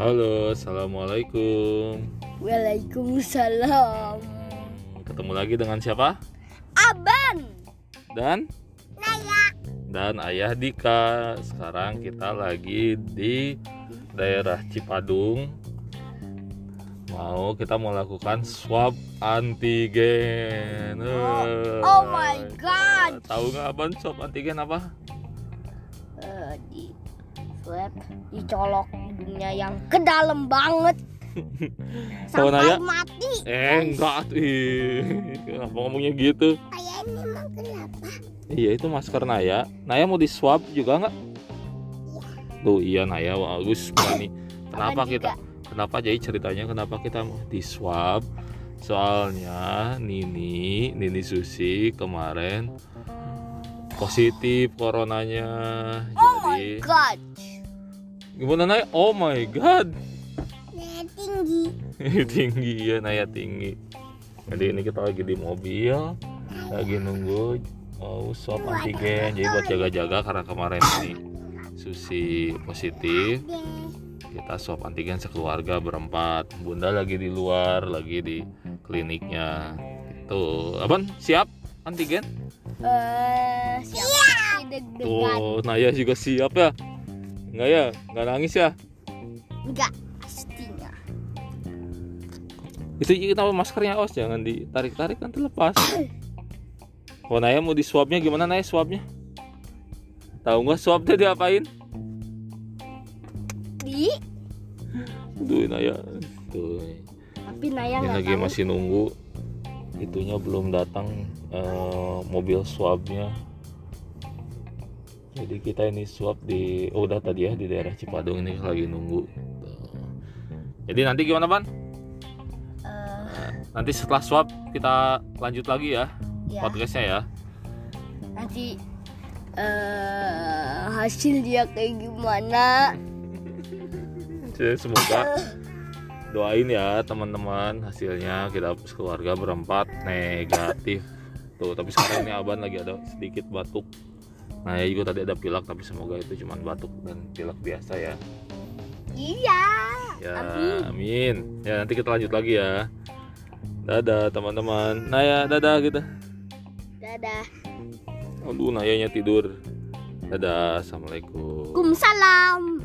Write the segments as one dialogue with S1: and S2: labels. S1: Halo, assalamualaikum.
S2: Waalaikumsalam.
S1: Ketemu lagi dengan siapa?
S2: Aban.
S1: Dan? Dan Ayah Dika. Sekarang kita lagi di daerah Cipadung. Mau kita melakukan swab antigen. Eh,
S2: Oh my god.
S1: Tahu nggak Aban swab antigen apa?
S2: Eh, di swab dicolok hidungnya yang ke dalam banget.
S1: Tahu Naya?
S2: Sampai mati.
S1: Eh enggak ih. Kenapa ngomongnya gitu?
S2: Kayak ini emang kenapa?
S1: Iya itu masker Naya. Naya mau di swab juga nggak? Tuh iya Naya bagus berani. Kenapa
S2: Aman
S1: kita? Kenapa jadi ceritanya kenapa kita mau di swab? Soalnya Nini, Nini Susi kemarin positif coronanya.
S2: Oh My
S1: Jadi
S2: god.
S1: gimana Naya? Oh my god.
S2: Naya tinggi.
S1: tinggi ya Naya tinggi jadi ini kita lagi di mobil lagi nunggu mau swab antigen jadi buat jaga-jaga karena kemarin ini Susi positif kita swab antigen sekeluarga berempat bunda lagi di luar lagi di kliniknya itu abang siap antigen
S2: Eh, siapa
S1: Iya.
S2: deg-degan?
S1: tuh Naya juga siap ya Enggak ya, enggak nangis ya.
S2: Enggak, pastinya.
S1: Itu kita maskernya os jangan ditarik-tarik nanti lepas. Oh Naya mau di swabnya gimana Naya swabnya? Tahu nggak swabnya diapain?
S2: Di
S1: Tuh Naya, tuh
S2: tapi Naya
S1: ini
S2: nggak
S1: lagi
S2: tahu.
S1: masih nunggu itunya belum datang eh, mobil swabnya. Jadi kita ini swab di oh, udah tadi ya di daerah Cipadung ini lagi nunggu. Tuh. Jadi nanti gimana Ban?
S2: Eh,
S1: Nanti setelah swab kita lanjut lagi ya
S2: ya.
S1: podcastnya ya.
S2: nanti eh hasil dia kayak gimana
S1: Jadi semoga doain ya teman-teman hasilnya kita keluarga berempat negatif. Tuh, tapi sekarang ini Aban lagi ada sedikit batuk. Nah, ya juga tadi ada pilek tapi semoga itu cuman batuk dan pilek biasa ya.
S2: iya
S1: Ya,
S2: Amin.
S1: amin. Ya, nanti kita lanjut lagi ya. Dadah teman-teman. Nah ya, dadah kita.
S2: dadah
S1: Aduh, Nayanya tidur. Dadah, assalamualaikum.
S2: kumsalam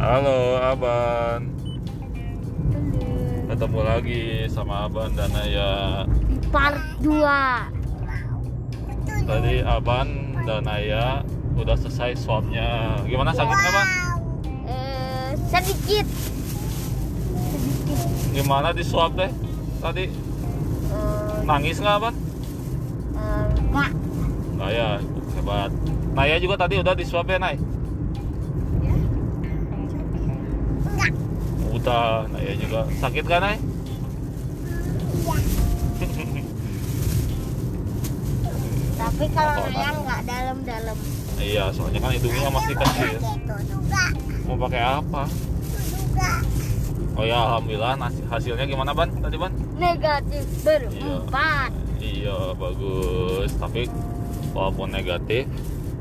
S1: Halo Aban. Ketemu lagi sama Aban dan Naya.
S2: di part 2
S1: Tadi Aban dan Naya udah selesai swabnya. Gimana sakit nggak Ban?
S2: eh sedikit
S1: Gimana di swab teh? Tadi
S2: eh
S1: nangis nggak Aban?
S2: eh, nggak
S1: Nggak ya, hebat. Naya juga tadi udah di swab ya Nay? Udah, Naya juga sakit kan Nay?
S2: tapi kalau
S1: Apa,
S2: Naya nggak dalam-dalam
S1: Iya, soalnya kan hidungnya masih kecil.
S2: itu juga
S1: Mau pakai apa?
S2: juga
S1: Oh ya, alhamdulillah nasi- hasilnya gimana Ban? Tadi Ban?
S2: negatif berempat
S1: Iya bagus. Tapi walaupun negatif,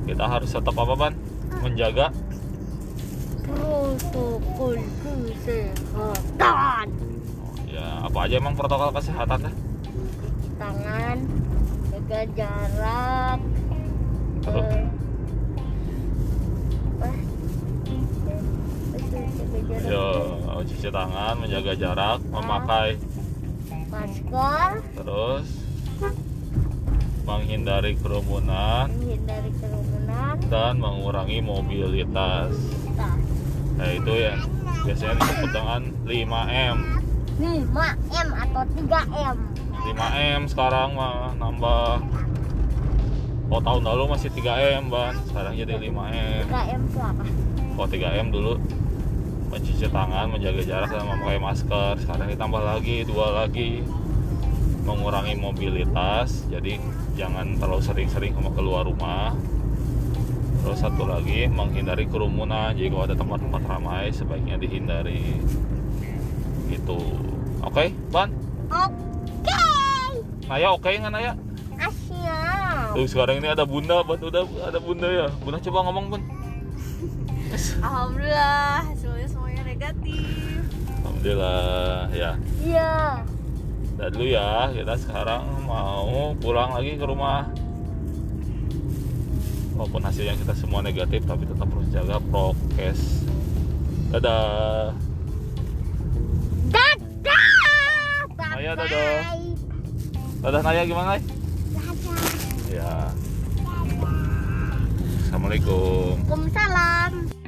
S1: kita harus tetap apa ban? Menjaga.
S2: protokol kesehatan
S1: Ya apa aja emang protokol kesehatan ya?
S2: cuci tangan jaga jarak
S1: Terus?
S2: eh, apa? Itu, jaga jarak
S1: Ya cuci tangan, menjaga jarak, memakai
S2: masker
S1: terus menghindari kerumunan
S2: menghindari kerumunan
S1: dan mengurangi mobilitas.
S2: kita
S1: Nah itu ya biasanya disebut dengan 5M.
S2: 5 m atau 3 m
S1: 5M sekarang mah nambah Oh tahun lalu masih 3M ban, sekarang jadi 5M
S2: 3 m itu apa
S1: Kalau 3M dulu mencuci tangan, menjaga jarak, dan memakai masker. Sekarang ditambah lagi, dua lagi mengurangi mobilitas. Jadi jangan terlalu sering-sering kamu keluar rumah. Terus satu lagi menghindari kerumunan. Jadi kalau ada tempat-tempat ramai sebaiknya dihindari. Gitu. Oke, Ban?
S2: Oke.
S1: Naya oke nggak Naya?
S2: Asia.
S1: Tuh sekarang ini ada Bunda, Ban udah ada Bunda ya. Bunda coba ngomong, Bun.
S3: Alhamdulillah hasilnya semuanya negatif.
S1: Alhamdulillah ya.
S2: Iya.
S1: Dan dulu ya, kita sekarang mau pulang lagi ke rumah. Walaupun hasilnya kita semua negatif, tapi tetap harus jaga prokes. Dadah.
S2: Dadah.
S1: Naya,
S2: Bye
S1: dadah.
S2: bye.
S1: Dadah Naya gimana? Nay?
S2: Dadah.
S1: Ya. Assalamualaikum.
S2: Waalaikumsalam.